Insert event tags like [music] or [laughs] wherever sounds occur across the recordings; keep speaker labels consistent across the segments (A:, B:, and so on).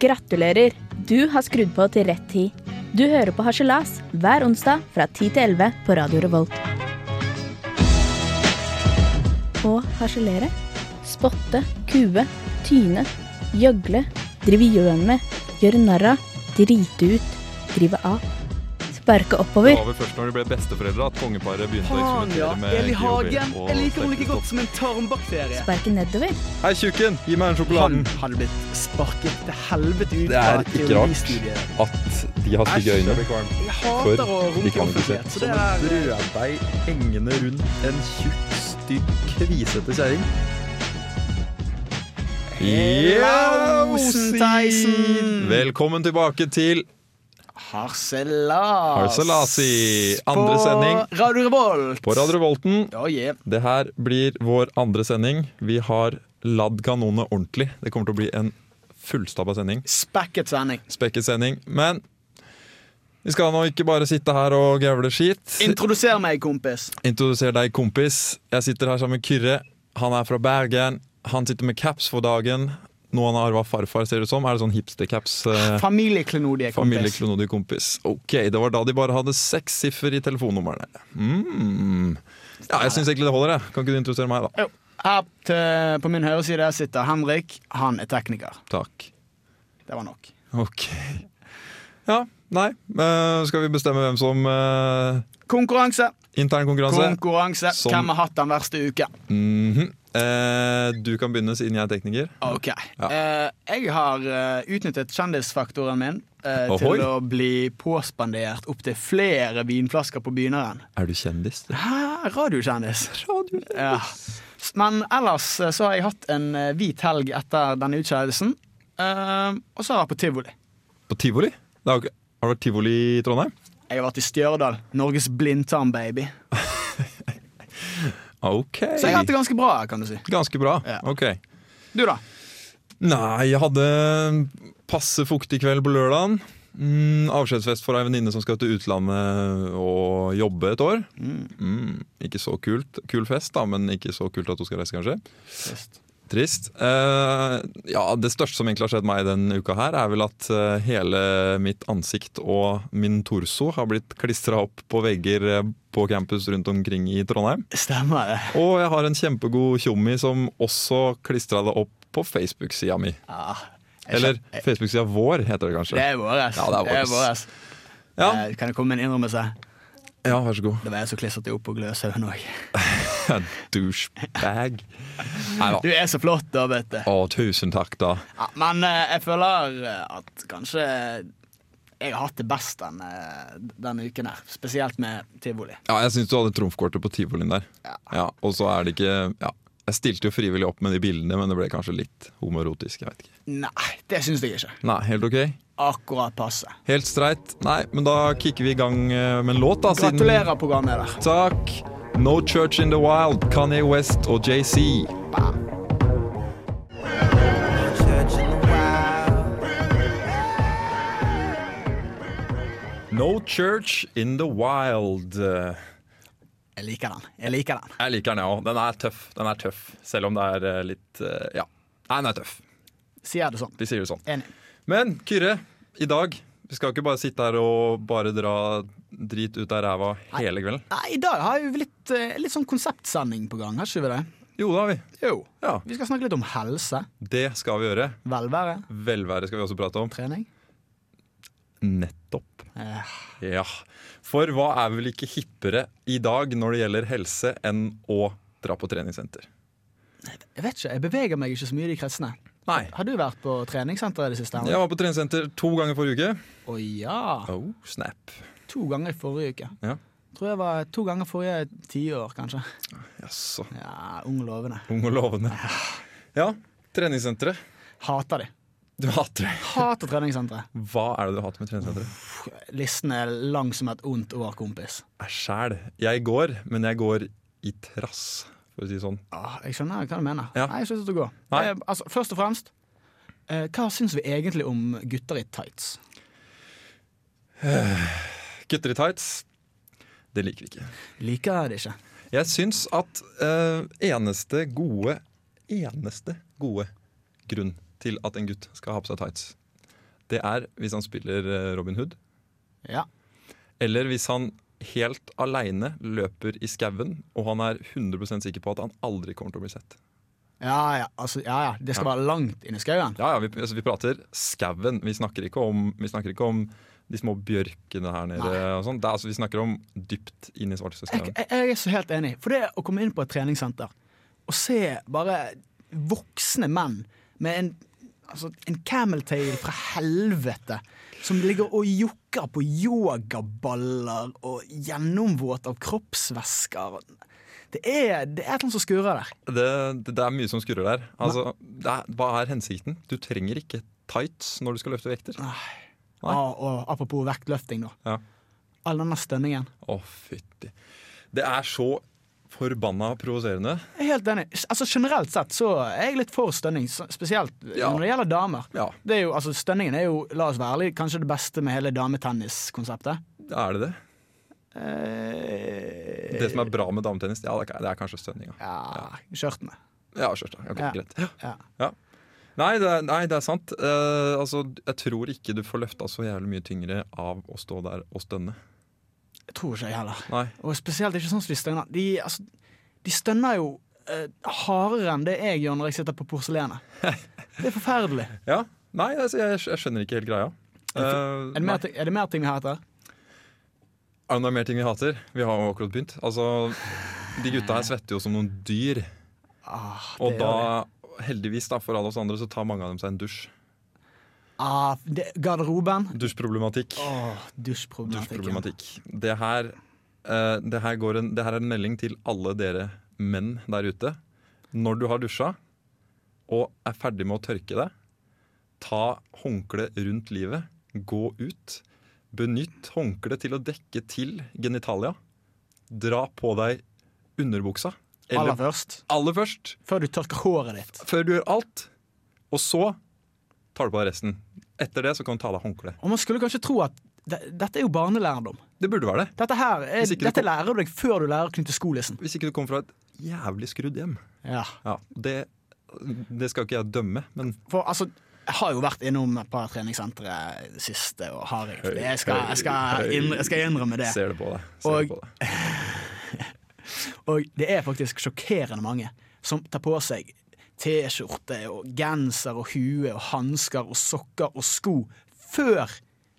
A: Gratulerer! Du har skrudd på til rett tid. Du hører på Harselas hver onsdag fra 10 til 11 på Radio Revolt. Å harselere, spotte, kue, tyne, gjøgle, drive gjøn med, gjøre narr av, drite ut, drive av. Sparke
B: Det
A: oppover.
B: var vel først når de ble besteforeldre at kongeparet begynte å
C: Faen, ja.
B: eksperimentere med
C: Eli Hagen.
B: GHB og
C: Jeg liker henne like
B: sterke
C: godt som en tarmbakterie.
A: Sparke nedover.
B: stoff. Hei, tjukken! Gi meg den sjokoladen!
C: Han hadde blitt sparket til helvete ut
D: Det
C: fra
D: er ikke rart
C: teoristudiet.
D: at de har stygge
B: Æsj, jeg
D: øyne.
B: blir kvalm.
C: Jeg
D: For
C: hater å
D: de
C: runke
D: kan ikke se.
C: offentlighet, så det er
D: brødbeig hengende rundt en tjukk, stygg, kvisete kjerring.
B: Ja,
C: Lausenteisen.
B: Velkommen tilbake til
C: Harselas.
B: Harselasi. Andre sending.
C: På Radio Revolt.
B: På Radio Revolten.
C: Ja, yeah.
B: Det her blir vår andre sending. Vi har ladd kanonene ordentlig. Det kommer til å bli en fullstabba sending.
C: Spekket sending.
B: Spekket sending. Men vi skal nå ikke bare sitte her og grevle skit.
C: Introduser meg, kompis.
B: Introduser deg, kompis. Jeg sitter her sammen med Kyrre. Han er fra Bergen. Han sitter med caps for dagen. Noe han har arva av farfar, ser det ut som. Er det sånn hipstercaps? Eh,
C: Familieklenodige, kompis.
B: Familieklonodig kompis. Ok, det var da de bare hadde seks siffer i telefonnumrene. Mm. Ja, jeg syns egentlig det holder, jeg. Kan ikke du introdusere meg, da?
C: Jo. Her til, på min høyre side sitter Henrik. Han er tekniker.
B: Takk.
C: Det var nok.
B: Ok. Ja, nei. eh, skal vi bestemme hvem som eh,
C: Konkurranse.
B: Intern konkurranse.
C: Konkurranse.
B: Altså, Som-
C: Hvem har hatt den verste uken?
B: Mhm. Eh, du kan begynne siden jeg er tekniker.
C: Ok. Eh, jeg har eh, utnyttet kjendisfaktoren min eh,
B: Ohoi.
C: til å bli påspandert opptil flere vinflasker på begynneren.
B: Er du kjendis?
C: Hæ? Radiokjendis.
B: Radio.
C: Ja. Men ellers eh, så har jeg hatt en eh, hvit helg etter denne utskeielsen. Eh, og så har jeg vært på tivoli.
B: På tivoli? Det har, jo ikke- har det vært tivoli i Trondheim?
C: Jeg har vært i Stjørdal. Norges blindtarm-baby.
B: Ok.
C: Så jeg har hatt det ganske bra, kan du si.
B: Ganske bra.
C: Ja.
B: Ok.
C: Du, da?
B: Nei, jeg hadde en passe fuktig kveld på lørdagen. Mm, avskjedsfest for ei venninne som skal til utlandet og jobbe et år. Mm, ikke så kult. Kul fest, da, men ikke så kult at hun skal reise, kanskje. Trist. Eh, ja, Det største som egentlig har skjedd meg denne uka, her er vel at eh, hele mitt ansikt og min torso har blitt klistra opp på vegger eh, på campus rundt omkring i Trondheim.
C: Stemmer det.
B: Og jeg har en kjempegod tjommi som også klistra det opp på Facebook-sida mi.
C: Ja. Jeg
B: Eller
C: skjøn- jeg-
B: Facebook-sida vår, heter det
C: Det
B: kanskje.
C: er våres.
B: Ja, det er våres. Ja,
C: Eh, Kan jeg komme med en innrømmelse?
B: ja vær så god.
C: Det var jeg som klistret deg opp på Gløshaugen òg.
B: [laughs] Douchebag. Nei
C: Du
B: da.
C: er så flott, da, vet du.
B: Å, tusen takk, da.
C: Ja, men eh, jeg føler eh, at kanskje jeg har hatt det best denne, denne uken her. Spesielt med tivoli.
B: Ja, jeg syns du hadde trumfkortet på tivolien der.
C: Ja.
B: Ja, og så er det ikke ja. Jeg stilte jo frivillig opp med de bildene, men det ble kanskje litt homoerotisk. jeg vet ikke.
C: Nei, det syns jeg ikke.
B: Nei, helt ok.
C: Akkurat passe.
B: Helt streit. Nei, men da kicker vi i gang eh, med en låt, da. siden-
C: Gratulerer, programleder.
B: Takk. No Church in the Wild, Kanye West og JC. No Church in the Wild. Jeg
C: Jeg liker den. Jeg liker den.
B: liker den, jeg òg. Den er tøff. Den er tøff. Selv om det er eh, litt eh, Ja. Nei, den er tøff.
C: Sier jeg det sånn.
B: De sier det sånn.
C: Enig.
B: Men Kyrre, i dag Vi skal ikke bare sitte her og bare dra drit ut av ræva hele kvelden.
C: Nei, I dag har vi litt, eh, litt sånn konseptsending på gang, har ikke vi det?
B: Jo, det har vi.
C: Jo.
B: Ja,
C: Vi skal snakke litt om helse,
B: Det skal vi gjøre.
C: velvære,
B: Velvære skal vi også prate om.
C: trening.
B: Nettopp.
C: Eh,
B: Ja. For hva er vel ikke hippere i dag når det gjelder helse, enn å dra på treningssenter?
C: Jeg vet ikke, jeg beveger meg ikke så mye i de kretsene.
B: Nei.
C: Har du vært på treningssenter i det siste?
B: Jeg var på treningssenter to ganger forrige uke.
C: Å ja.
B: Oh, snap.
C: To ganger i forrige uke.
B: Ja.
C: Tror jeg var to ganger forrige tiår, kanskje.
B: Jaså.
C: Ja, Ung lovende.
B: Ung og lovende. Ja, treningssenteret.
C: Hater de.
B: Du hater det.
C: Hater treningssentre.
B: Hva er det du hater med treningssenteret?
C: Listen er lang som et ondt år, kompis.
B: Jeg sjæl. Jeg går, men jeg går i trass, for å si det sånn.
C: Ah, jeg skjønner hva du mener.
B: Ja.
C: Nei, jeg slutter å gå.
B: Nei.
C: Eh, altså, først og fremst, eh, hva syns vi egentlig om gutter i tights?
B: Gutter i tights, det liker vi ikke.
C: Liker jeg det ikke.
B: Jeg syns at eh, eneste gode Eneste gode grunn til at en gutt skal ha på seg tights, Det er hvis han spiller eh, Robin Hood,
C: Ja.
B: eller hvis han helt aleine løper i skauen, og han er 100 sikker på at han aldri kommer til å bli sett.
C: Ja, ja, altså, ja, ja. Det skal være langt inn i skauen.
B: Ja, ja, vi, altså, vi prater skauen. Vi, snakker ikke om- vi snakker ikke om de små bjørkene her nede. Og sånn. det er, altså, vi snakker om dypt inn i
C: Jeg,
B: svartesteskauen.
C: jeg, jeg er så helt enig. For det å komme inn på et treningssenter og se bare voksne menn med en, altså, en cameltail fra helvete som ligger og jokker på yogaballer og gjennomvåt av kroppsvæsker Det er, det er et eller annet som skurrer der.
B: Det, det, det er mye som skurrer der. Altså, det er, hva er hensikten? Du trenger ikke tights når du skal løfte vekter. Å, Nei.
C: Ah, og apropos vektløfting, da.
B: Ja.
C: All denne stønningen.
B: fytti. Det er så forbanna provoserende.
C: Jeg er helt enig. Altså Generelt sett så er jeg litt for stønning, s- spesielt
B: Ja.
C: når det gjelder damer.
B: Ja.
C: Det er jo, altså Stønningen er jo, la oss være ærlige, kanskje det beste med hele dametenniskonseptet.
B: Er det det?
C: Eh,
B: Det som er bra med dametennis, ja, det er- det er kanskje stønninga.
C: ja, skjørtene.
B: Ja, skjørta. Ok,
C: Ja.
B: Greit. Ja.
C: Ja.
B: Nei, det er, nei, det er sant. Eh, altså, jeg tror ikke du får løfta så jævlig mye tyngre av å stå der og stønne.
C: Jeg tror ikke jeg heller.
B: Nei.
C: Og spesielt ikke sånn som de stønner. De, altså, de stønner jo eh, hardere enn det jeg gjør når jeg sitter på porselenet. Det er forferdelig.
B: Ja. Nei, altså, jeg, jeg skjønner ikke helt greia. Eh,
C: Er det
B: nei.
C: mer, ting- er det mer ting vi har etter?
B: Er det noe mer ting vi hater? Vi har jo akkurat begynt. Altså, De gutta her svetter jo som noen dyr.
C: Ah, det
B: Og
C: gjør vi.
B: da, heldigvis da, for alle oss andre, så tar mange av dem seg en dusj.
C: ah, det, Garderoben.
B: Dusjproblematikk.
C: Åh, dusjproblematikken.
B: Dusjproblematikk. Det her, eh, det, her går en, det her er en melding til alle dere menn der ute. Når du har dusja og er ferdig med å tørke deg, ta håndkleet rundt livet. Gå ut. Benytt håndkleet til å dekke til genitalia. Dra på deg underbuksa.
C: Aller
B: Eller
C: først.
B: aller først,
C: Før du tørker håret ditt.
B: før du gjør alt. Og så tar du på deg resten. Etter det så kan du ta av deg håndkleet.
C: Og man skulle kanskje tro at de, dette er jo barnelærdom.
B: Det burde være det.
C: Dette her er,
B: Hvis ikke du
C: dette
B: kom-
C: lærer du deg før du lærer å knytte skolissen.
B: Hvis ikke du kommer fra et jævlig skrudd hjem.
C: Ja.
B: Ja, det, det skal ikke jeg dømme, men
C: For altså, jeg har jo vært innom et par treningssentre det siste, og har jeg Jeg skal, jeg skal, innr- jeg skal innrømme det.
B: ser det på deg. Ser
C: Og-
B: det på deg.
C: Og det er faktisk sjokkerende mange som tar på seg T-skjorte og genser og hue og hansker og sokker og sko før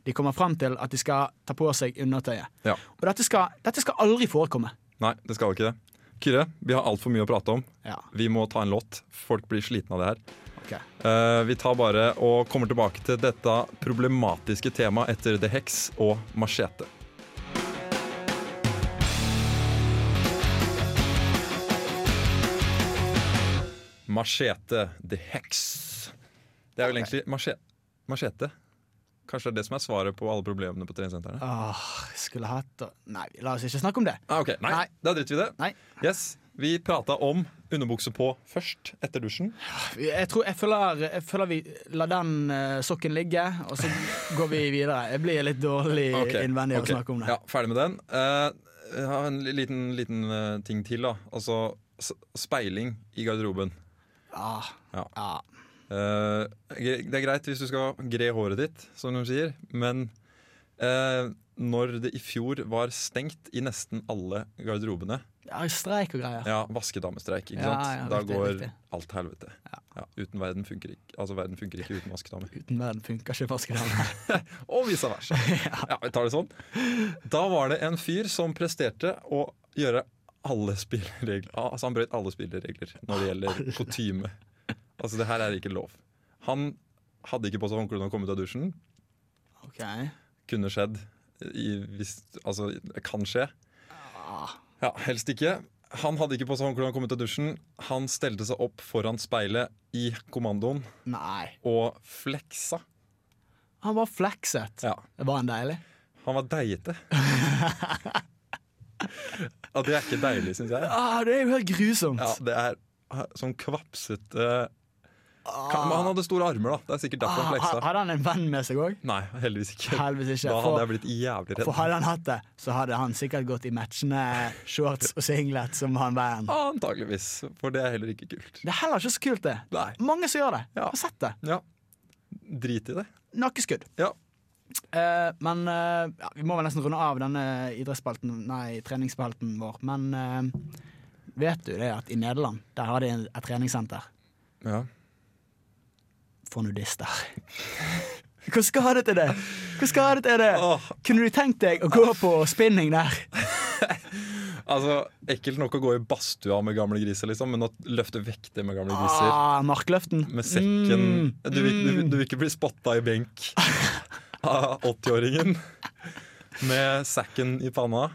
C: de kommer fram til at de skal ta på seg undertøyet.
B: Ja.
C: Og dette skal, dette skal aldri forekomme.
B: Nei, det skal ikke det. Kyrre, vi har altfor mye å prate om.
C: Ja,
B: Vi må ta en låt. Folk blir slitne av det her.
C: ok.
B: Eh, vi tar bare og kommer tilbake til dette problematiske temaet etter The Hex og Machete. Machete, The Hex. Det er vel egentlig mache- machete. Kanskje det er det som er svaret på alle problemene på treningssentrene?
C: Åh, skulle hatt å... Nei, la oss ikke snakke om det.
B: Ah, ok, nei,
C: Nei.
B: da driter vi i det.
C: Nei.
B: Yes, Vi prata om underbukse på først, etter dusjen.
C: Jeg, tror, jeg, føler, jeg føler vi lar den eh, sokken ligge, og så går vi videre. Jeg blir litt dårlig
B: [laughs] Ok,
C: innvendig av
B: ok.
C: å snakke om det.
B: Ja, ferdig med den. Eh, jeg har en li- liten, liten eh, ting til. da Altså s- speiling i garderoben.
C: Ah,
B: Ja.
C: ah.
B: Eh, gre- det er greit hvis du skal gre håret ditt, som de sier, men eh, når det i fjor var stengt i nesten alle garderobene
C: Ja, streik og greier.
B: Ja, vaskedamestreik, ikke
C: Ja,
B: sant?
C: ja,
B: da
C: riktig,
B: går
C: riktig.
B: alt til helvete. Ja. uten verden funker ikke Altså, verden funker ikke uten vaskedamer.
C: Uten verden funker ikke
B: [laughs]
C: vaskedamer.
B: Og vice versa. [laughs] ja, vi tar det sånn. Da var det en fyr som presterte å gjøre alle spilleregler Altså Han brøt alle spilleregler når det gjelder kutyme. Altså, det her er ikke lov. Han hadde ikke på seg håndkle når han kom ut av dusjen.
C: Ok.
B: Kunne skjedd. I, hvis, altså, det kan skje. Ja, helst ikke. Han hadde ikke på seg håndkle når han kom ut av dusjen. Han stelte seg opp foran speilet i kommandoen
C: Nei.
B: og fleksa.
C: Han var flekset.
B: Ja,
C: Var han deilig?
B: Han var
C: [laughs]
B: deigete. ja, det er ikke deilig, syns jeg.
C: Ah, det er jo helt grusomt.
B: Ja, det er sånn kvapsete Ka- Men han hadde store armer, da. Det er sikkert derfor
C: Ah,
B: han fleksa.
C: hadde han en venn med seg òg?
B: Nei, heldigvis ikke.
C: Heldigvis
B: Da
C: ikke, for-
B: hadde jeg blitt jævlig
C: For
B: redd.
C: hadde han hatt det, så hadde han sikkert gått i matchende shorts og singlet som han vennen.
B: Ah. Antakeligvis, for det er heller ikke kult.
C: Det er heller ikke så kult, det.
B: Nei.
C: Mange som gjør det.
B: Ja.
C: Jeg har sett det.
B: Ja. Drit i det.
C: Nakkeskudd.
B: Ja.
C: Eh, men eh, ja, vi må vel nesten runde av denne idrettsspalten, nei, treningsspalten vår. Men eh, vet du det at i Nederland der har de en- et treningssenter
B: ja.
C: for nudister? [laughs] Hvor skadet er det? Hvor skadet er det?
B: Åh,
C: Kunne du tenkt deg å gå på spinning der?
B: altså, ekkelt nok å gå i badstua med gamle griser, liksom, men å løfte vekter med gamle griser
C: Ah, markløften.
B: med sekken
C: Mm,
B: du, vil, du,
C: mm.
B: du vil ikke bli spotta i benk av 80-åringen med sekken i panna.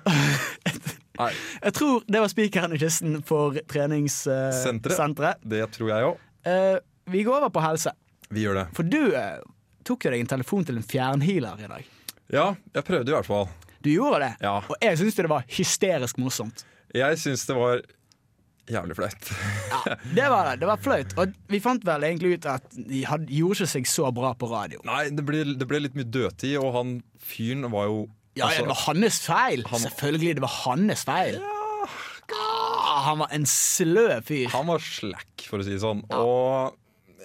B: Nei,
C: Jeg tror det var spikeren i kisten for
B: Senteret.
C: treningssenteret.
B: det tror jeg òg.
C: Eh, vi går over på helse,
B: Vi gjør det.
C: for du eh, tok jo deg en telefon til en fjernhealer i dag.
B: Ja, jeg prøvde i hvert fall.
C: Du gjorde det,
B: Ja.
C: og jeg syns det var hysterisk morsomt.
B: Jeg syns det var jævlig flaut.
C: Ja, det var det. Det var flaut. Og vi fant vel egentlig ut at de hadde, gjorde ikke seg så bra på radio.
B: Nei, det ble, det ble litt mye dødtid, og han fyren var jo
C: Ja,
B: Altså,
C: ja, det var hans feil! Selvfølgelig, det var hans feil. Ah, han var en slø fyr.
B: Han var slack, for å si det sånn. Og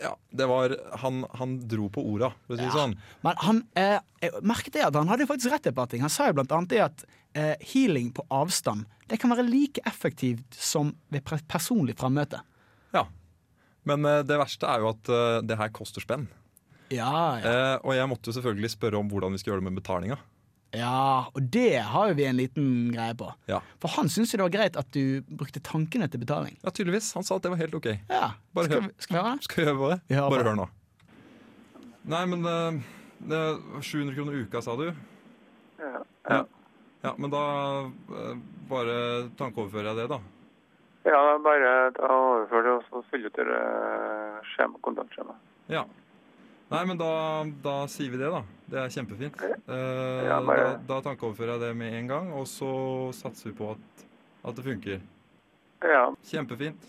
B: ja, det var Han, han dro på orda, for å si det sånn.
C: Men han, eh, jeg merket det at han hadde jo faktisk rett i et par ting. Han sa jo blant annet det at eh, healing på avstand det kan være like effektivt som ved pre- personlig frammøte.
B: Ja. Men eh, det verste er jo at eh, det her koster spenn.
C: Ja, ja.
B: Eh, og jeg måtte jo selvfølgelig spørre om hvordan vi skulle gjøre det med betalinga.
C: ja, og det har jo vi en liten greie på.
B: Ja.
C: For han syntes jo det var greit at du brukte tankene til betaling.
B: ja, tydeligvis. Han sa at det var helt OK.
C: Ja,
B: Bare
C: skal,
B: hør.
C: vi, skal
B: [laughs]
C: vi høre det?
B: Skal vi høre på det?
C: Vi hører på
B: Bare
C: det.
B: hør nå. Nei, men eh, det var 700 kroner i uka, sa du? Ja. Ja, Men da eh, bare tankeoverfører jeg det, da.
E: Ja, det er bare ta og overfør det, og så fylle ut det eh, skjema, kontantskjema.
B: Ja. Nei, men da, da sier vi det, da. Det er kjempefint. Eh,
E: Ja, bare-
B: Da, da tankeoverfører jeg det med en gang, og så satser vi på at, at det funker.
E: Ja,
B: Kjempefint.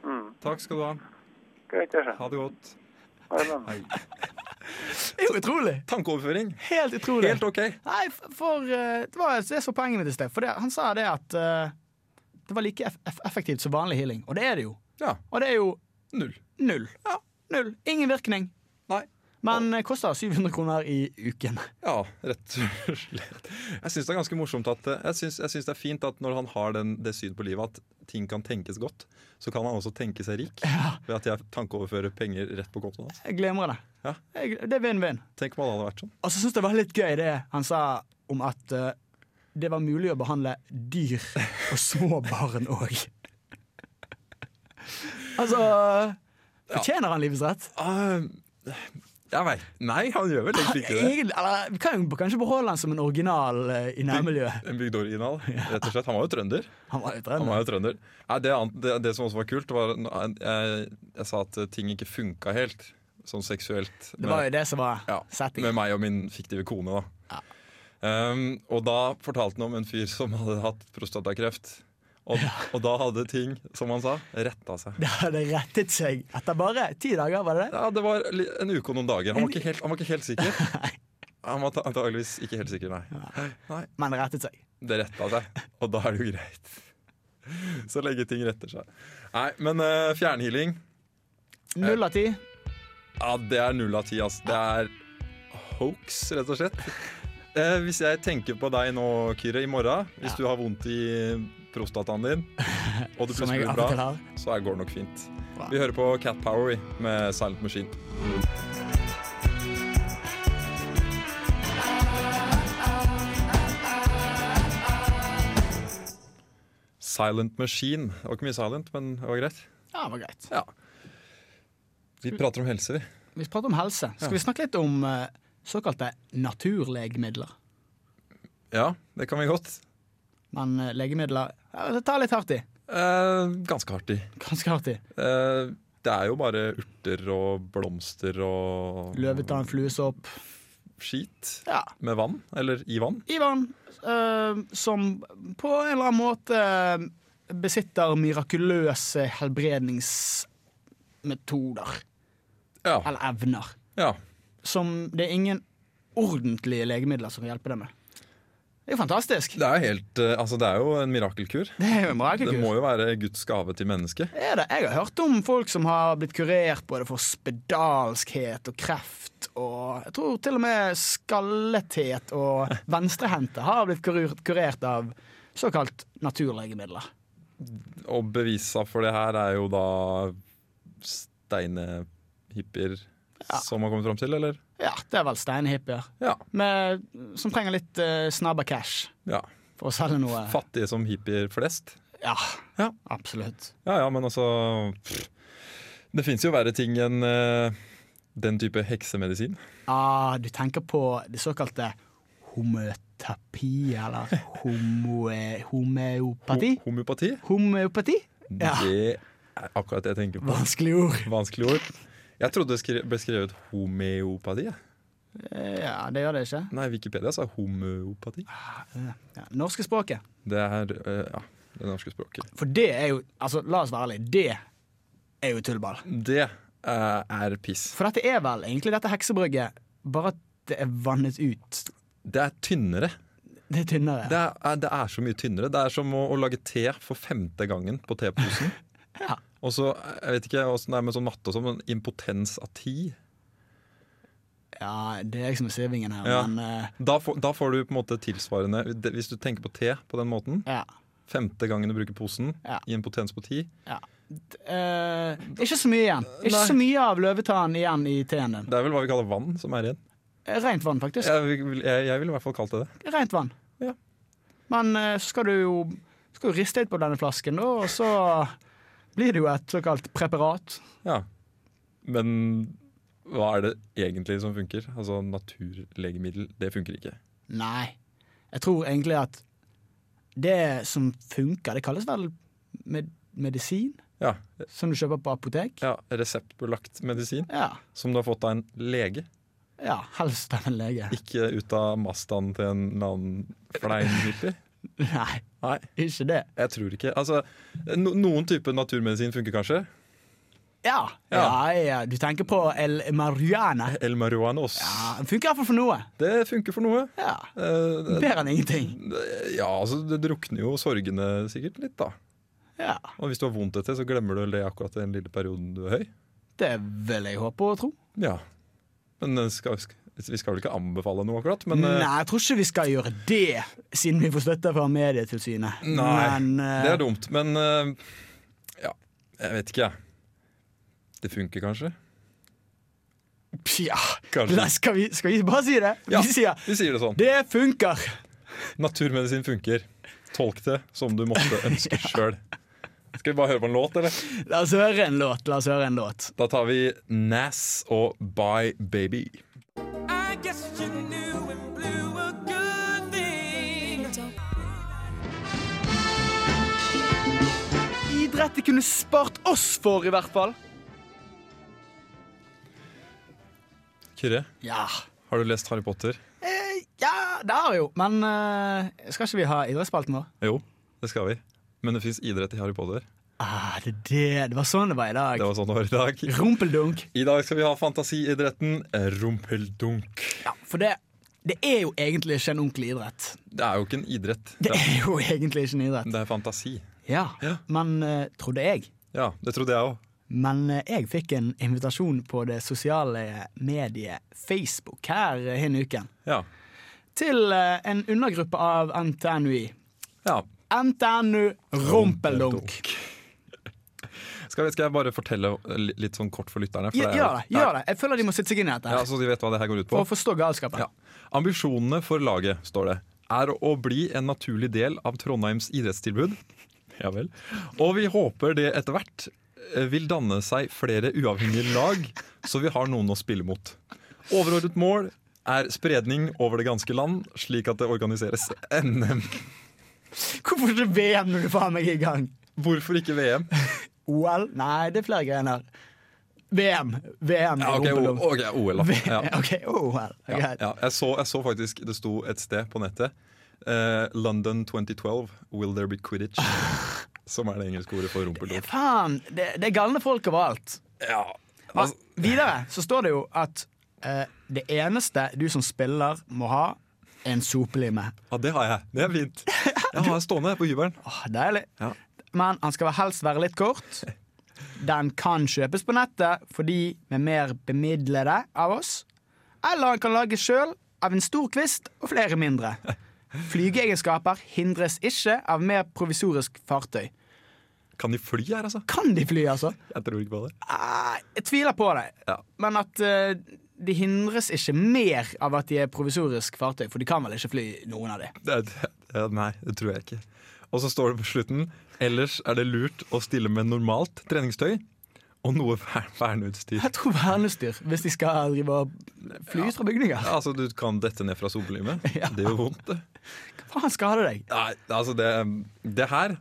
E: Mm.
B: Takk skal du ha.
E: greit, det skjer.
B: Ha det godt.
E: Ha det bra.
B: Hei.
C: Det er jo utrolig!
B: Tankeoverføring.
C: Helt utrolig.
B: Helt OK.
C: Nei, f- for eh, Det var det som var poenget mitt i sted. For det, han sa det at eh, det var like eff eff- effektivt som vanlig healing. Og det er det jo.
B: Ja.
C: Og det er jo
B: Null.
C: null. Ja, null. Ingen virkning.
B: Nei.
C: Men eh, koster 700 kroner i uken.
B: Ja, rett og slett. Jeg syns det er ganske morsomt at eh, Jeg syns, jeg syns det er fint at når han har den, det synet på livet at ting kan tenkes godt, så kan han også tenke seg rik ved at jeg tankeoverfører penger rett på kontoen hans.
C: Jeg glemmer det.
B: Ja.
C: Jeg, det er vinn-vinn.
B: Tenk om han hadde vært sånn.
C: Og så syns jeg det var litt gøy det han sa om at eh, det var mulig å behandle dyr og små barn òg. altså Fortjener han livets rett?
B: Ah, jeg veit Nei, han gjør vel egentlig ikke det.
C: Egentlig, eller, vi kan jo kanskje beholde han som en original eh, i nærmiljøet.
B: En bygdeoriginal, rett og slett. Han var jo trønder.
C: Han var jo
B: Han
C: trønder.
B: var jo trønder. Nei, det, an- det, det som også var kult, var jeg, jeg sa at ting ikke funka helt, sånn seksuelt.
C: Det var jo det som var
B: ja,
C: settingen.
B: med meg og min fiktive kone, da. Um, og da fortalte han om en fyr som hadde hatt prostatakreft. Og, og da hadde ting, som han sa, retta seg.
C: Det hadde rettet seg etter bare ti dager, var det det?
B: Ja, Det var li- en uke og noen dager. Han var ikke helt, han var ikke helt sikker. Han var antakeligvis ikke helt sikker, nei. nei.
C: Men det rettet seg.
B: det retta seg, og da er det jo greit. Så lenge ting retter seg. Nei, men eh, fjernhealing,
C: Null av ti.
B: ja, det er null av ti, ass. Det er hoax, rett og slett. Eh, hvis jeg tenker på deg nå, Kyrre, i morgen, hvis du har vondt i prostataen din, og det
C: [laughs] Som
B: plutselig
C: jeg
B: blir
C: av og til
B: bra,
C: har.
B: så er- går det nok fint.
C: Bra.
B: Vi hører på Cat Power vi, med Silent Machine. Silent Machine. Det var ikke mye silent, men det var greit.
C: Ja, det var greit.
B: Ja. Vi prater om helse, vi.
C: Vi prater om helse. Skal vi snakke litt om eh, såkalte naturlegemidler?
B: Ja, det kan vi godt.
C: Men eh, legemidler ja, Det tar litt hardt i.
B: Eh, ganske hardt i.
C: Ganske hardt i.
B: Eh, det er jo bare urter og blomster og
C: Løvetann, fluesopp.
B: skit
C: Ja.
B: med vann. Eller i vann.
C: Ivan, eh, som på en eller annen måte eh, besitter mirakuløse helbredningsmetoder.
B: Ja.
C: Eller evner.
B: ja.
C: Som det er ingen ordentlige legemidler som kan hjelpe deg med. Det er jo fantastisk.
B: Det er, jo helt, eh, altså det er jo en mirakelkur.
C: Det er jo
B: Det
C: en mirakelkur.
B: må jo være Guds gave til mennesket.
C: Det er det. Jeg har hørt om folk som har blitt kurert både for spedalskhet og kreft og jeg tror til og med skallethet
B: [laughs]
C: og venstrehendte har blitt kurert, kurert av såkalt naturlegemidler.
B: Og bevisa for det her er jo da steinehippier som har kommet fram til, eller?
C: Ja, det er vel steinhippier.
B: Ja.
C: Med, som trenger litt eh, snabba cash
B: ja.
C: for å selge noe.
B: Fattige som hippier flest.
C: Ja,
B: Ja.
C: absolutt.
B: Ja ja, men altså pff, Det fins jo verre ting enn eh, den type heksemedisin.
C: Ah, du tenker på det såkalte homøotapi,
B: [laughs]
C: eller homo,
B: Ho-
C: homeopati?
B: Homeopati?
C: Homeopati? Ja.
B: Det er akkurat det jeg tenker på.
C: Vanskelig ord.
B: Vanskelig ord. Jeg trodde det skre- ble skrevet homeopati. jeg.
C: Eh, Ja, det gjør det ikke. Eh,
B: Nei, Wikipedia sa homeopati.
C: Ja, norske språket.
B: Det er eh, ja, det norske språket.
C: For det er jo Altså, la oss være ærlige. Det er jo tullball.
B: Det eh, er piss.
C: For dette er vel egentlig dette heksebrygget, bare at det er vannet ut.
B: Det er tynnere.
C: Det er tynnere.
B: Det er, er- det er så mye tynnere. Det er som å, å lage te for femte gangen på teposen.
C: [laughs] Ja.
B: Og så, eh, jeg vet ikke åssen det er med sånn matte og sånn, men impotens av ti
C: Ja, det er jeg som er sivingen her,
B: Ja.
C: men eh,
B: da, får- da får du på en måte tilsvarende det- Hvis du tenker på te på den måten,
C: ja.
B: femte gangen du bruker posen,
C: Ja.
B: i impotens på ti
C: ja. D- eh, ikke så mye igjen. Ikke
B: Nei.
C: så mye av løvetannen igjen i teen din.
B: Det er vel hva vi kaller vann som er igjen.
C: Eh, Rent vann, faktisk.
B: Jeg, vil- jeg, jeg ville i hvert fall kalt det det.
C: Rent vann.
B: Ja.
C: Men eh, så skal du jo skal du riste litt på denne flasken, da, og så blir det jo et såkalt preparat.
B: Ja. Men hva er det egentlig som funker? Altså Naturlegemiddel, det funker ikke.
C: Nei. Jeg tror egentlig at det som funker, det kalles vel med medisin?
B: Ja,
C: Som du kjøper på apotek?
B: ja Reseptbelagt medisin
C: Ja.
B: som du har fått av en lege.
C: ja helst av en lege.
B: Ikke ut av mastaen til en eller annen flein hippie.
C: [laughs] Nei,
B: Nei,
C: ikke det.
B: jeg tror ikke Altså, no, Noen type naturmedisin funker kanskje.
C: Ja, ja,
B: Ja.
C: ja. Du tenker på el marihuana?
B: El marihuanos.
C: Ja, den funker i hvert fall for noe.
B: Det funker for noe.
C: Ja.
B: Eh, det-
C: Bedre enn ingenting.
B: ja, altså Det drukner jo sorgene sikkert litt, da.
C: Ja.
B: Og hvis du har vondt etter, så glemmer du vel det akkurat den lille perioden du er høy.
C: Det vil jeg håpe og tro.
B: Ja. Men eh, skal, skal, vi skal vel ikke anbefale noe, akkurat? Men eh,
C: Nei, jeg tror ikke vi skal gjøre det, siden vi får støtte fra Medietilsynet.
B: Nei,
C: Men eh,
B: det er dumt. Men eh, ja, jeg vet ikke, jeg. Det funker kanskje?
C: Ja,
B: Kanskje.
C: Nei, skal, vi, skal vi bare si det?
B: [laughs] Ja.
C: Vi sier
B: Vi sier det sånn.
C: det funker.
B: Naturmedisin funker. Tolk det som du måtte [laughs] ønske sjøl. Skal vi bare høre på en låt, eller?
C: La oss høre en låt. La oss høre en låt.
B: Da tar vi Nas og Bye Baby.
F: I guess you knew and blew a good thing.
C: Idrett de kunne spart oss for, i hvert fall.
B: Kyrre,
C: Ja.
B: har du lest Harry Potter?
C: Eh, ja, det har jeg jo. Men eh, skal ikke vi ha idrettsspalten vår?
B: Jo, det skal vi. Men det fins idrett i Harry Potter.
C: Ah, det, er det, det var sånn det var i dag.
B: Det var sånn det var i dag.
C: Rumpeldunk.
B: I dag skal vi ha fantasiidretten eh, rumpeldunk.
C: Ja, for det, det er jo egentlig ikke en ordentlig idrett.
B: Det er jo ikke en
C: [laughs]
B: idrett.
C: Det er jo egentlig ikke en idrett.
B: Det er fantasi.
C: Ja, Men eh, trodde jeg.
B: Ja, det trodde jeg òg.
C: Men eh, jeg fikk en invitasjon på det sosiale mediet Facebook her eh, henne uken.
B: Ja.
C: Til eh, en undergruppe av NTNUI.
B: ja.
C: NTNU Rumpeldunk.
B: Skal, jeg- skal jeg bare fortelle li- litt sånn kort for lytterne? For
C: Ja,
B: det er jo-
C: Gjør det. gjør det Jeg føler de må sitte seg inn i dette.
B: Ja,
C: her,
B: så de vet hva det her går ut
C: For
B: på.
C: å forstå galskapen.
B: Ja. Ambisjonene for laget, står det, er å bli en naturlig del av Trondheims idrettstilbud. Ja vel. Og vi håper det etter hvert eh, vil danne seg flere uavhengige lag, så vi har noen å spille mot. Overordnet mål er spredning over det ganske land, slik at det organiseres NM.
C: Hvorfor ikke VM når du faen meg er i gang?
B: Hvorfor ikke VM?
C: OL? Nei, det er flere grener. VM. VM
B: Ja,
C: i
B: ok, o,
C: rumpeldunk.
B: ok, OL, da. Ja.
C: [laughs] OK, OL.
B: Ja,
C: greit.
B: ja. Jeg, så, jeg så faktisk det sto et sted på nettet eh, London 2012, will there be quidditch? Som er det engelske ordet for rumpeldunk.
C: Faen, det, det er galne folk overalt.
B: Ja.
C: Men
B: Altså,
C: videre så står det jo at eh, det eneste du som spiller må ha, er en sopelime.
B: ja, det har jeg. Det er [laughs] fint. Jeg har en stående på hybelen.
C: Åh, deilig.
B: Ja.
C: Men han skal helst være litt kort. Den kan kjøpes på nettet for de med mer bemidlede av oss. Eller han kan lage sjøl av en stor kvist og flere mindre. Flygeegenskaper hindres ikke av mer provisorisk fartøy.
B: Kan de fly her, altså?
C: Kan de fly, altså?
B: Jeg tror ikke på det.
C: Eh, Jeg tviler på det.
B: Ja.
C: Men at eh, de hindres ikke mer av at de er provisorisk fartøy, for de kan vel ikke fly noen av de.
B: Det- det- ja, Nei, det tror jeg ikke. Og så står det på slutten Ellers er det lurt å stille med normalt treningstøy og noe ver- verneutstyr.
C: Jeg tror vernestyr, hvis de skal drive og fly ut fra bygninger.
B: Ja, Altså, du kan dette ned fra sollimet. [laughs]
C: Ja.
B: Det gjør vondt, det.
C: Faen skade deg.
B: Nei, altså, det, det her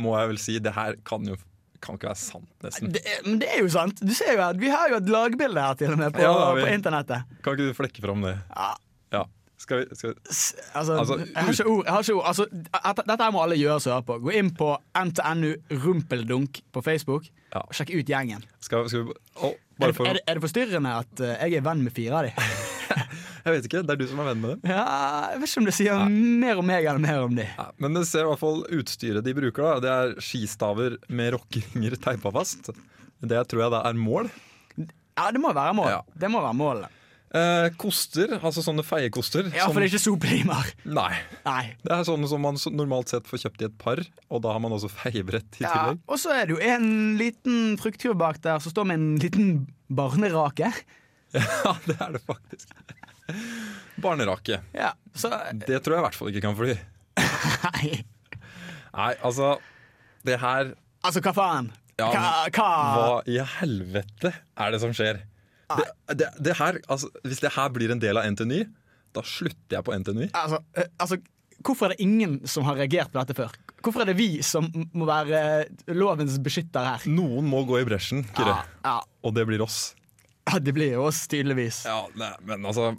B: må jeg vel si, det her kan jo kan ikke være sant, nesten.
C: Det er, men det er jo sant. Du ser jo at Vi har jo et lagbilde her til og med på,
B: Ja, det har vi.
C: på internettet.
B: Kan ikke du flekke fram det?
C: Ja,
B: Ja. Skal vi, skal vi?
C: s- altså,
B: Altså,
C: jeg har ikke ord. Jeg har ikke ord. Altså, dette, dette her må alle gjøre som hører på. Gå inn på NTNU Rumpeldunk på Facebook
B: Ja.
C: og sjekk ut gjengen.
B: Skal, skal vi å,
C: Er
B: bare
C: det,
B: for,
C: er, det, er det forstyrrende at eh, jeg er venn med fire av de? [laughs]
B: Jeg vet ikke, det er du som er venn med dem.
C: Ja, jeg vet ikke om det sier mer om meg eller mer om de.
B: Nei, Men det ser i hvert fall utstyret de bruker. da Det er skistaver med rockeringer teipa fast. Det tror jeg da er mål.
C: Ja, det må være mål.
B: Ja.
C: Det må være mål.
B: Eh, koster, altså sånne feiekoster.
C: Ja, for det er ikke soplimer.
B: Nei.
C: Nei.
B: Det er sånne som man så- normalt sett får kjøpt i et par, og da har man også feiebrett i
C: Ja,
B: tillegg. [laughs]
C: og så er det jo en liten fruktkur bak der som står med en liten barnerake.
B: Ja, det er det faktisk. Barnerake.
C: Ja, så [laughs]
B: Det tror jeg i hvert fall ikke kan fly.
C: Nei.
B: Nei, altså Det her
C: Altså, hva faen?
B: Ja,
C: Hva, hva?
B: Hva i helvete er det som skjer? Det, det, det her, altså, hvis det her blir en del av NTNY, da slutter jeg på NTNY.
C: Altså, eh, altså, hvorfor er det ingen som har reagert på dette før? Hvorfor er det vi som m- må være eh, lovens beskytter her?
B: Noen må gå i bresjen, Kyrre.
C: Ja, ja.
B: Og det blir oss.
C: ja, det blir jo oss, tydeligvis.
B: Ja, nei, men altså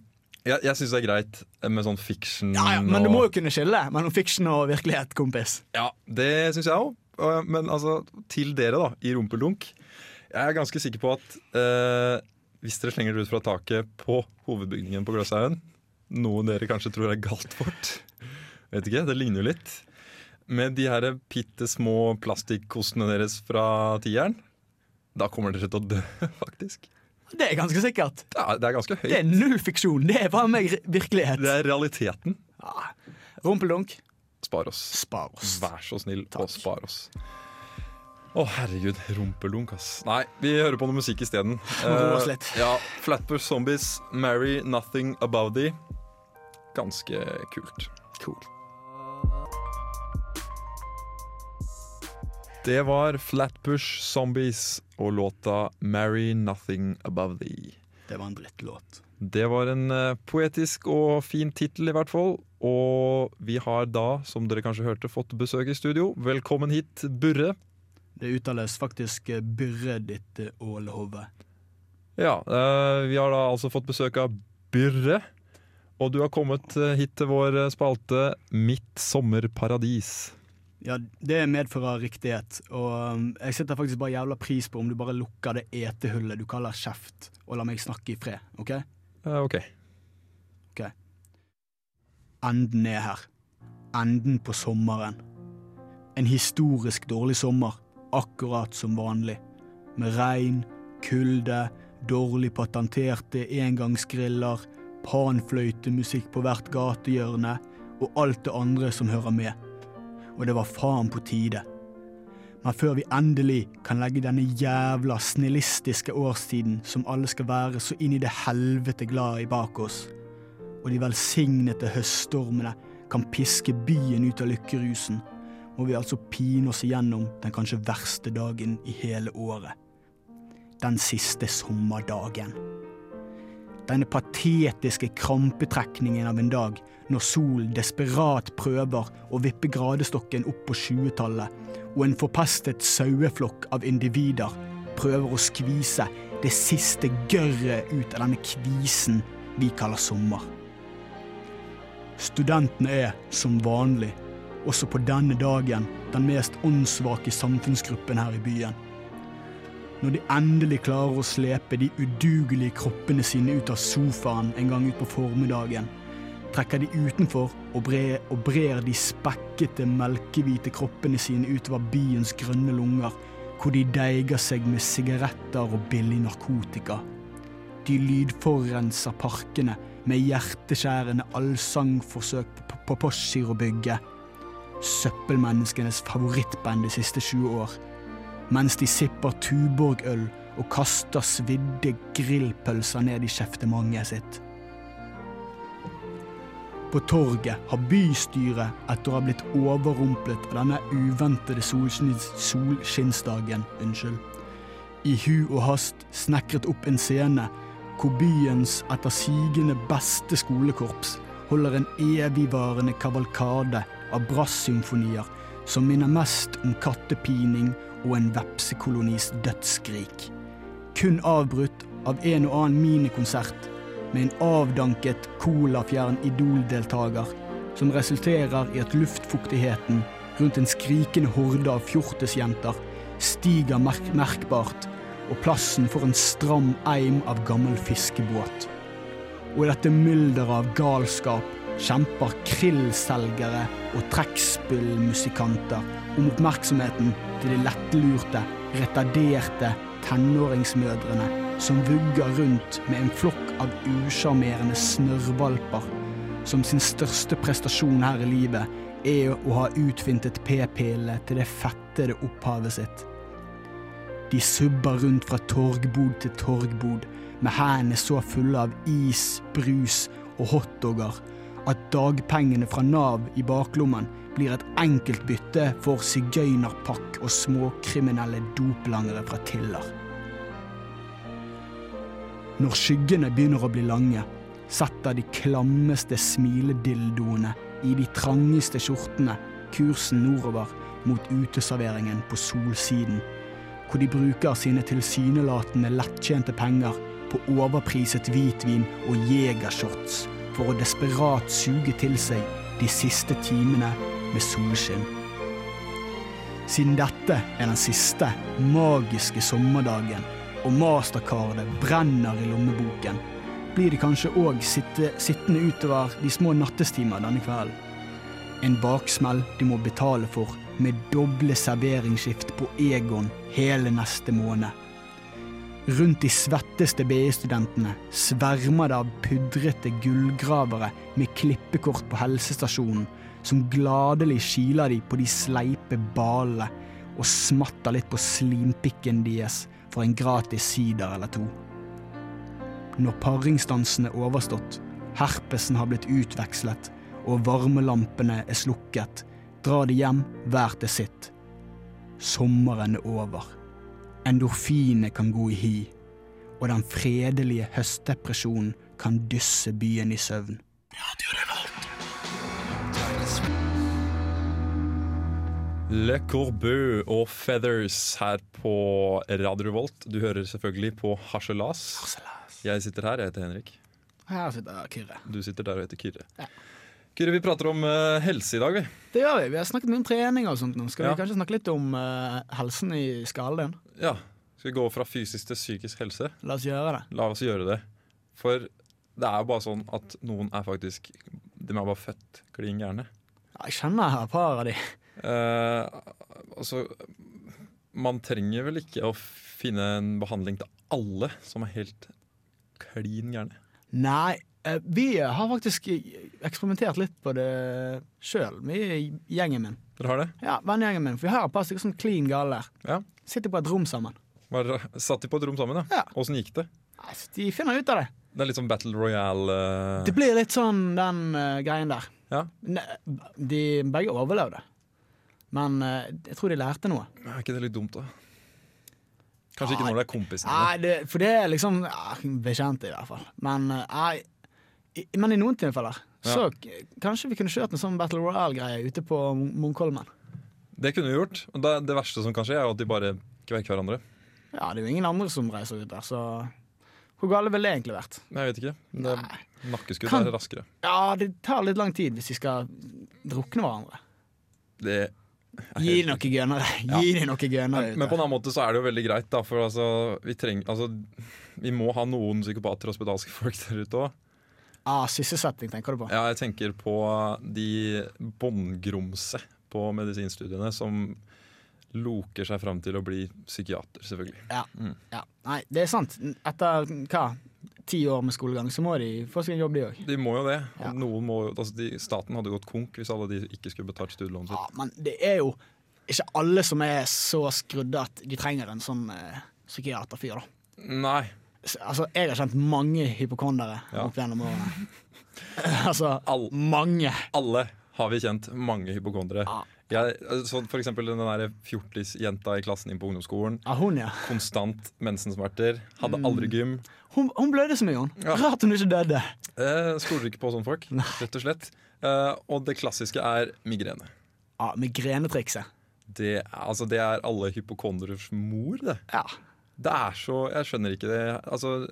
B: Jeg, jeg syns det er greit med sånn fiction
C: Ja, ja, men du
B: og-
C: må jo kunne skille mellom fiksjon og virkelighet, kompis.
B: Ja, det syns jeg òg. Men altså, til dere, da, i rumpeldunk. Jeg er ganske sikker på at eh, hvis dere slenger dere ut fra taket på hovedbygningen på Gløshaugen, noe dere kanskje tror er galt fort Vet ikke, det ligner jo litt. Med de her bitte små plastikkostene deres fra tieren, da kommer dere til å dø, [laughs] faktisk.
C: Det er ganske sikkert.
B: Det er, det er ganske
C: Det
B: høyt.
C: er null fiksjon. Det er faen meg virkelighet.
B: Det er realiteten.
C: Rumpeldunk,
B: Spar oss.
C: spar oss.
B: Vær så snill og spar oss. Å, herregud. Rumpelunk, ass. Nei, vi hører på noe musikk isteden.
C: roe oss
B: Eh,
C: litt.
B: ja, Flatbush Zombies, Marry Nothing About Thee. Ganske kult.
C: Cool.
B: Det var Flatbush Zombies og låta Marry Nothing Above Thee.
C: Det var en drittlåt.
B: Det var en eh, poetisk og fin tittel, i hvert fall. Og vi har da, som dere kanskje hørte, fått besøk i studio. Velkommen hit, Burre.
C: Det uttales faktisk eh, 'byrre ditt eh, ålehove'.
B: Ja, eh, vi har da altså fått besøk av Byrre. Og du har kommet eh, hit til vår eh, spalte Mitt sommerparadis.
C: Ja, det medfører riktighet, og um, jeg setter faktisk bare jævla pris på om du bare lukker det etehullet du kaller kjeft, og lar meg snakke i fred, OK?
B: Eh, ok.
C: Enden er her. Enden på sommeren. En historisk dårlig sommer, akkurat som vanlig. Med regn, kulde, dårlig patenterte engangsgriller, panfløytemusikk på hvert gatehjørne og alt det andre som hører med. Og det var faen på tide. Men før vi endelig kan legge denne jævla snillistiske årstiden som alle skal være så inn i det helvete glad i bak oss, og de velsignede høststormene kan piske byen ut av lykkerusen, må vi altså pine oss igjennom den kanskje verste dagen i hele året. Den siste sommerdagen. Denne patetiske krampetrekningen av en dag når solen desperat prøver å vippe gradestokken opp på 20-tallet, og en forpestet saueflokk av individer prøver å skvise det siste gørret ut av denne kvisen vi kaller sommer. Studentene er, som vanlig, også på denne dagen den mest åndssvake samfunnsgruppen her i byen. Når de endelig klarer å slepe de udugelige kroppene sine ut av sofaen en gang utpå formiddagen, trekker de utenfor og brer, og brer de spekkete, melkehvite kroppene sine utover byens grønne lunger, hvor de deiger seg med sigaretter og billig narkotika. de lydforurenser parkene med hjerteskjærende allsangforsøk på, på Postgirobygget. Søppelmenneskenes favorittband de siste 20 år. Mens de sipper Tuborg-øl og kaster svidde grillpølser ned i kjeftemanget sitt. På torget har bystyret, etter å ha blitt overrumplet av denne uventede solskins- solskinnsdagen, unnskyld, i hu og hast snekret opp en scene hvor byens etter sigende beste skolekorps holder en evigvarende kavalkade av brassymfonier som minner mest om kattepining og en vepsekolonis dødsskrik. Kun avbrutt av en og annen minikonsert med en avdanket, colafjern idoldeltaker som resulterer i at luftfuktigheten rundt en skrikende horde av fjortisjenter stiger merk merkbart, og plassen får en stram eim av gammel fiskebåt. Og i dette mylderet av galskap kjemper krillselgere og trekkspillmusikanter om oppmerksomheten til de lettlurte, retarderte tenåringsmødrene som vugger rundt med en flokk av usjarmerende snørrvalper som sin største prestasjon her i livet er å ha utvintet p-pillene til det fettede opphavet sitt. De subber rundt fra torgbod til torgbod med hendene så fulle av is, brus og hotdogger at dagpengene fra Nav i baklommen blir et enkelt bytte for sigøynerpakk og småkriminelle doplangere fra Tiller. Når skyggene begynner å bli lange, setter de klammeste smiledildoene i de trangeste skjortene kursen nordover mot uteserveringen på Solsiden, hvor de bruker sine tilsynelatende lettjente penger på overpriset hvitvin og jegershots for å desperat suge til seg de siste timene med solskinn. Siden dette er den siste magiske sommerdagen, og mastercardet brenner i lommeboken, blir de kanskje òg sitte, sittende utover de små nattestimer denne kvelden. En baksmell de må betale for, med doble serveringsskift på Egon hele neste måned. Rundt de svetteste BI-studentene svermer det av pudrete gullgravere med klippekort på helsestasjonen, som gladelig kiler de på de sleipe balene og smatter litt på slimpikken deres for en gratis sider eller to. Når paringsdansen er overstått, herpesen har blitt utvekslet og varmelampene er slukket, drar de hjem hver til sitt. Sommeren er over. Endorfinene kan gå i hi, og den fredelige høstdepresjonen kan dysse byen i søvn.
B: Le Corbeau og Feathers her på Radio Revolt. Du hører selvfølgelig på Harselas. Jeg sitter her, jeg heter Henrik.
C: Her sitter Kyrre.
B: Du sitter der og heter Kyrre. Kyrre, vi prater om eh, helse i dag, vi.
C: Det gjør vi. Vi har snakket mye om trening og sånt nå. Skal
B: Ja.
C: vi kanskje snakke litt om eh, helsen i skallen?
B: Ja. Skal vi gå fra fysisk til psykisk helse?
C: La oss gjøre det.
B: La oss gjøre det. For det er jo bare sånn at noen er faktisk De er bare født klin gærne.
C: Ja, Jeg kjenner et par av de.
B: Eh, altså Man trenger vel ikke å finne en behandling til alle som er helt klin gærne.
C: Nei, eh, vi har faktisk eksperimentert litt på det sjøl, vi i gjengen min.
B: Dere har det?
C: Ja, vennegjengen min, for vi har et par stykker sånn clean gale der.
B: Ja.
C: Sitter på et rom sammen.
B: Var, satt de på et rom sammen,
C: Ja.
B: ja? Åssen gikk det?
C: Nei, så de finner ut av det.
B: Det er litt sånn Battle Royale eh,
C: Det blir litt sånn den eh, greien der.
B: Ja.
C: Ne, de begge overlevde. Men eh, jeg tror de lærte noe.
B: Er ikke det litt dumt, da? Kanskje ikke
C: Nei.
B: når det er kompisene. dine.
C: Nei, det, for det er liksom ja, bekjente i hvert fall. Men, eh, nei, i, men i noen tilfeller så k- kanskje vi kunne kjørt en sånn Battle Royale-greie ute på Mun- Munkholmen.
B: Det kunne vi gjort. Og det, det verste som kan skje, er jo at de bare kverker hverandre.
C: Ja, det er jo ingen andre som reiser ut der, så hvor gale ville det egentlig vært?
B: Nei, Jeg vet ikke. Det,
C: Nei.
B: nakkeskudd
C: Kan-
B: er raskere.
C: Ja, det tar litt lang tid hvis de skal drukne hverandre.
B: Det,
C: Gi dem noe gønnere.
B: Ja.
C: Gi dem noe gønnere.
B: men på en
C: ute.
B: annen måte så er det jo veldig greit, da. For altså, vi, treng, altså, vi må ha noen psykopater og spedalske folk der ute òg.
C: Ah, sysselsetting tenker du på.
B: Ja, jeg tenker på de båndgrumse på medisinstudiene som loker seg Mm. fram til å bli psykiater, selvfølgelig.
C: Ja. Nei, det er sant. Etter hva? ti år med skolegang, så må de få seg en jobb, de òg.
B: De må jo det.
C: Ja.
B: Noen må, jo- altså de, staten hadde gått konk hvis alle de ikke skulle betalt studielånet
C: Ja,
B: sitt.
C: men det er jo ikke alle som er så skrudde at de trenger en sånn eh, psykiaterfyr, da.
B: Nei.
C: S- Altså, jeg har kjent mange hypokondere
B: Ja.
C: opp
B: [laughs]
C: gjennom årene. altså
B: All-
C: mange.
B: Alle har vi kjent mange hypokondere.
C: Ja.
B: Jeg, så for eksempel den der fjortisjenta i klassen inn på ungdomsskolen.
C: Ja, hun, ja.
B: Konstant mensensmerter.
C: Mm.
B: Hadde aldri gym.
C: Hun, hun blødde så mye, hun.
B: Ja.
C: Rart hun ikke døde.
B: Eh, Stoler ikke på sånne folk, rett og slett. Eh, og det klassiske er migrene.
C: Ja, Migrenetrikset.
B: Det, er- altså, det er alle hypokonderers mor, det.
C: Ja.
B: Det er så Jeg skjønner ikke det. Altså,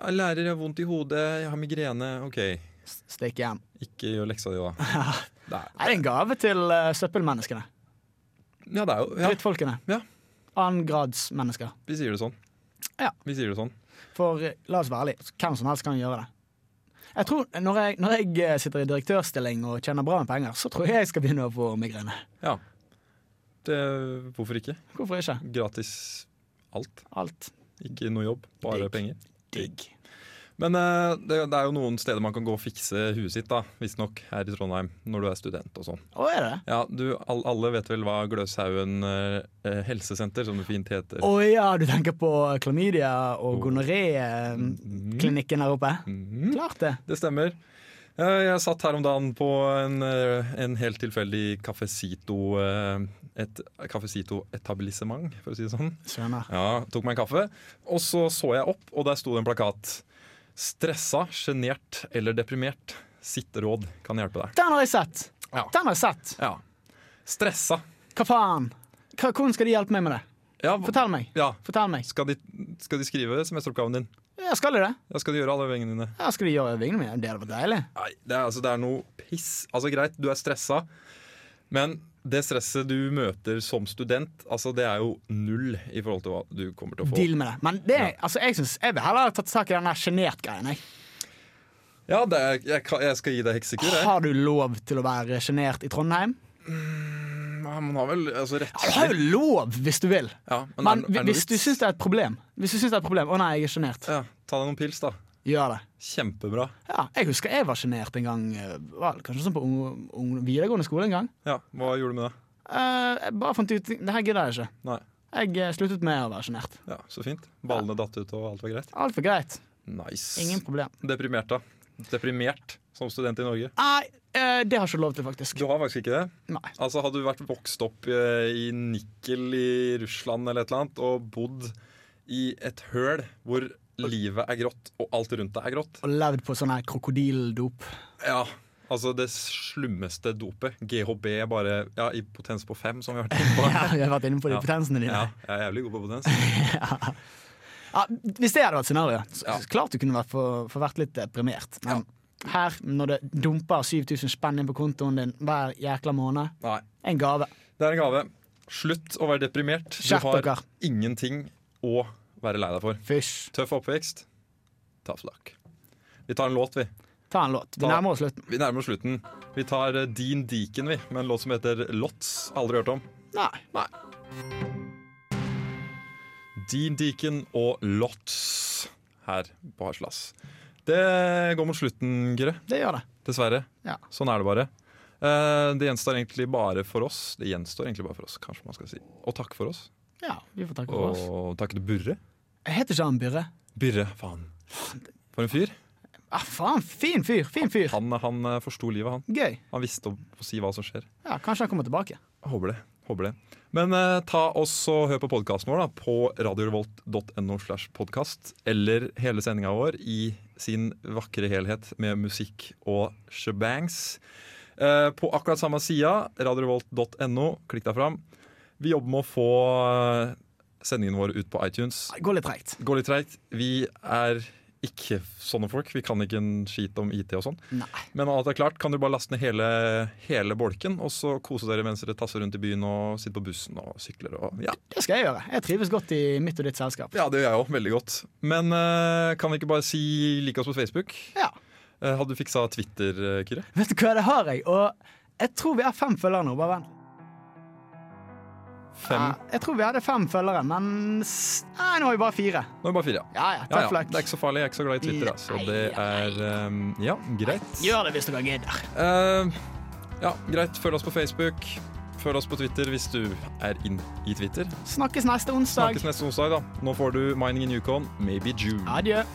B: jeg lærer, jeg har vondt i hodet, jeg har migrene. OK,
C: S- Stikk hjem.
B: ikke gjør leksa di, da.
C: [laughs]
B: Det er,
C: Er det er en gave til eh, søppelmenneskene?
B: ja, det er jo ja,
C: Drittfolkene?
B: Ja.
C: Annengradsmennesker.
B: Vi sier det sånn.
C: Ja.
B: Vi sier det sånn.
C: For eh, la oss være ærlige, hvem som helst kan gjøre det. Jeg tror, når jeg, når jeg eh, sitter i direktørstilling og tjener bra med penger, så tror jeg jeg skal begynne å få migrene.
B: Ja. Det, hvorfor ikke?
C: Hvorfor ikke?
B: Gratis alt.
C: Alt.
B: Ikke noe jobb, bare
C: Digg.
B: penger.
C: Digg.
B: Men eh, det, det er jo noen steder man kan gå og fikse huet sitt, da, visstnok, her i Trondheim. Når du er student og sånn.
C: Å, er det det?
B: Ja, du, all, alle vet vel hva Gløshaugen eh, helsesenter, som det fint heter.
C: Å ja, du tenker på klamydia og gonoré-klinikken der oppe?
B: Mhm,
C: Klart det.
B: det stemmer. Eh, jeg satt her om dagen på en, eh, en helt tilfeldig Cafecito eh, Et Cafecito-etablissement, for å si det sånn.
C: Skjønner.
B: Ja, tok meg en kaffe, og så så jeg opp, og der sto det en plakat. Stressa, sjenert eller deprimert. Sitt råd kan hjelpe deg.
C: Den har jeg sett!
B: Ja.
C: Den har jeg sett!
B: Ja. Stressa.
C: Hva faen? Hva, hvordan skal de hjelpe meg med det?
B: Ja,
C: Fortell meg.
B: ja.
C: Fortell meg.
B: Skal, de, skal de skrive semesteroppgaven din?
C: Ja, skal de det?
B: Ja, skal de gjøre alle øvingene dine?
C: Ja, skal de gjøre øvingene mine? Det hadde vært deilig.
B: Nei, det er, altså, det er noe piss. Altså, greit, du er stressa, men det stresset du møter som student, altså, det er jo null i forhold til hva du kommer til å få.
C: Deal med det. Men det, altså, jeg, synes, jeg vil heller ha tatt tak i den der sjenert-greien. jeg.
B: Ja, det er, jeg, kan- jeg skal gi deg heksekur, jeg.
C: Har du lov til å være sjenert i Trondheim?
B: Man har vel altså, rett
C: Ja, du har jo lov, hvis du vil.
B: Ja, men
C: Men
B: er det- er det noe
C: hvis du
B: vits?
C: syns det er et problem Hvis du synes det er et problem Å nei, jeg er sjenert.
B: Ja, ta deg noen pils, da.
C: Gjør det.
B: Kjempebra.
C: Ja, jeg husker jeg var sjenert en gang, eh, var det kanskje sånn på ung, ung, videregående skole en gang.
B: Ja, Hva gjorde du med det?
C: Eh, jeg bare fant ut det her gidder jeg ikke.
B: Nei.
C: Jeg eh, sluttet med å være sjenert.
B: Ja, Så fint. Ballene datt ut, og alt var greit.
C: Alt var greit.
B: Nice.
C: Ingen problem.
B: Deprimert, da. Deprimert som student i Norge.
C: Nei, eh, det har jeg ikke lov til, faktisk.
B: Du har faktisk ikke det.
C: Nei.
B: Altså Hadde du vært vokst opp eh, i Nikkel i Russland eller et eller annet, og bodd i et høl hvor livet er grått, og alt rundt deg er grått
C: Og levd på sånn her krokodilldop.
B: Ja, altså det slummeste dopet. GHB bare ja, i potens på fem, som vi har [laughs] vært inne på.
C: Ja, vi har vært inne på de
B: Ja.
C: potensene dine.
B: Ja, jeg er jævlig god på potens.
C: Ja, hvis det hadde vært scenarioet, så
B: Ja.
C: så klart du kunne vært for, for vært litt deprimert. Men her, når det dumper 7000 spenn inn på kontoen din hver jækla måned,
B: Nei.
C: en gave.
B: Det er en gave. Slutt å være deprimert. Du
C: Skjerp
B: har
C: dere.
B: ingenting å være lei deg for.
C: Fysj.
B: Tøff oppvekst. Tough luck. Vi tar en låt, vi.
C: Ta en låt. Vi
B: Ta-
C: nærmer oss slutten.
B: Vi nærmer oss slutten. Vi tar eh, Dean Deacon, vi, med en låt som heter Lots. Aldri hørt om.
C: Nei.
B: Dean Deacon og Lots her på Haslas. Det går mot slutten, Kyrre.
C: Det gjør det.
B: Dessverre.
C: Ja.
B: Sånn er det bare. Eh, Det gjenstår egentlig bare for oss Det gjenstår egentlig bare for oss, kanskje man skal si. Og takk for oss.
C: Ja, vi får takke for oss.
B: Og takk til Burre.
C: Jeg heter ikke han Byrre.
B: Byrre, faen. For en fyr.
C: Ah, faen, fin fyr! Fin fyr.
B: Han, han eh, forsto livet, han.
C: Gøy.
B: Han visste å, å si hva som skjer.
C: Ja, Kanskje han kommer tilbake.
B: Håper det. Håper det. Men eh, ta oss og hør på podkasten vår da, på radiorevolt.no slash podkast, eller hele sendinga vår i sin vakre helhet med musikk og shebangs. Eh, på akkurat samme sida, radiorevolt.no, klikk deg fram. Vi jobber med å få eh, sendingen vår ut på iTunes.
C: Det går litt treigt.
B: Går litt treigt. Vi er ikke sånne folk. Vi kan ikke en skit om IT og sånn.
C: Nei.
B: Men når alt er klart, kan du bare laste ned hele, hele bolken, og så kose dere mens dere tasser rundt i byen og sitter på bussen og sykler og Ja,
C: Det skal jeg gjøre. Jeg trives godt i mitt og ditt selskap.
B: ja det gjør jeg òg. Veldig godt. Men eh, kan vi ikke bare si like oss på Facebook?
C: Ja.
B: Eh, hadde du fiksa Twitter, eh, Kyrre?
C: Vet du hva, det har jeg. Og jeg tror vi har fem følgere nå, bare venn.
B: Fem.
C: Ja, Jeg tror vi hadde fem følgere, men s- Nei, nå har vi bare fire.
B: Nå er det bare fire, ja.
C: Ja ja,
B: Ja,
C: tough
B: ja.
C: luck.
B: Det er ikke så farlig. Jeg er ikke så glad i Twitter. Da. Så det er ehm, Ja, greit.
C: Gjør det hvis dere gidder.
B: Eh, ja, greit. Følg oss på Facebook. Følg oss på Twitter hvis du er inn i Twitter.
C: Snakkes neste onsdag.
B: Snakkes neste onsdag, da. Nå får du Mining in Yukon, Maybe June.
C: Adjø.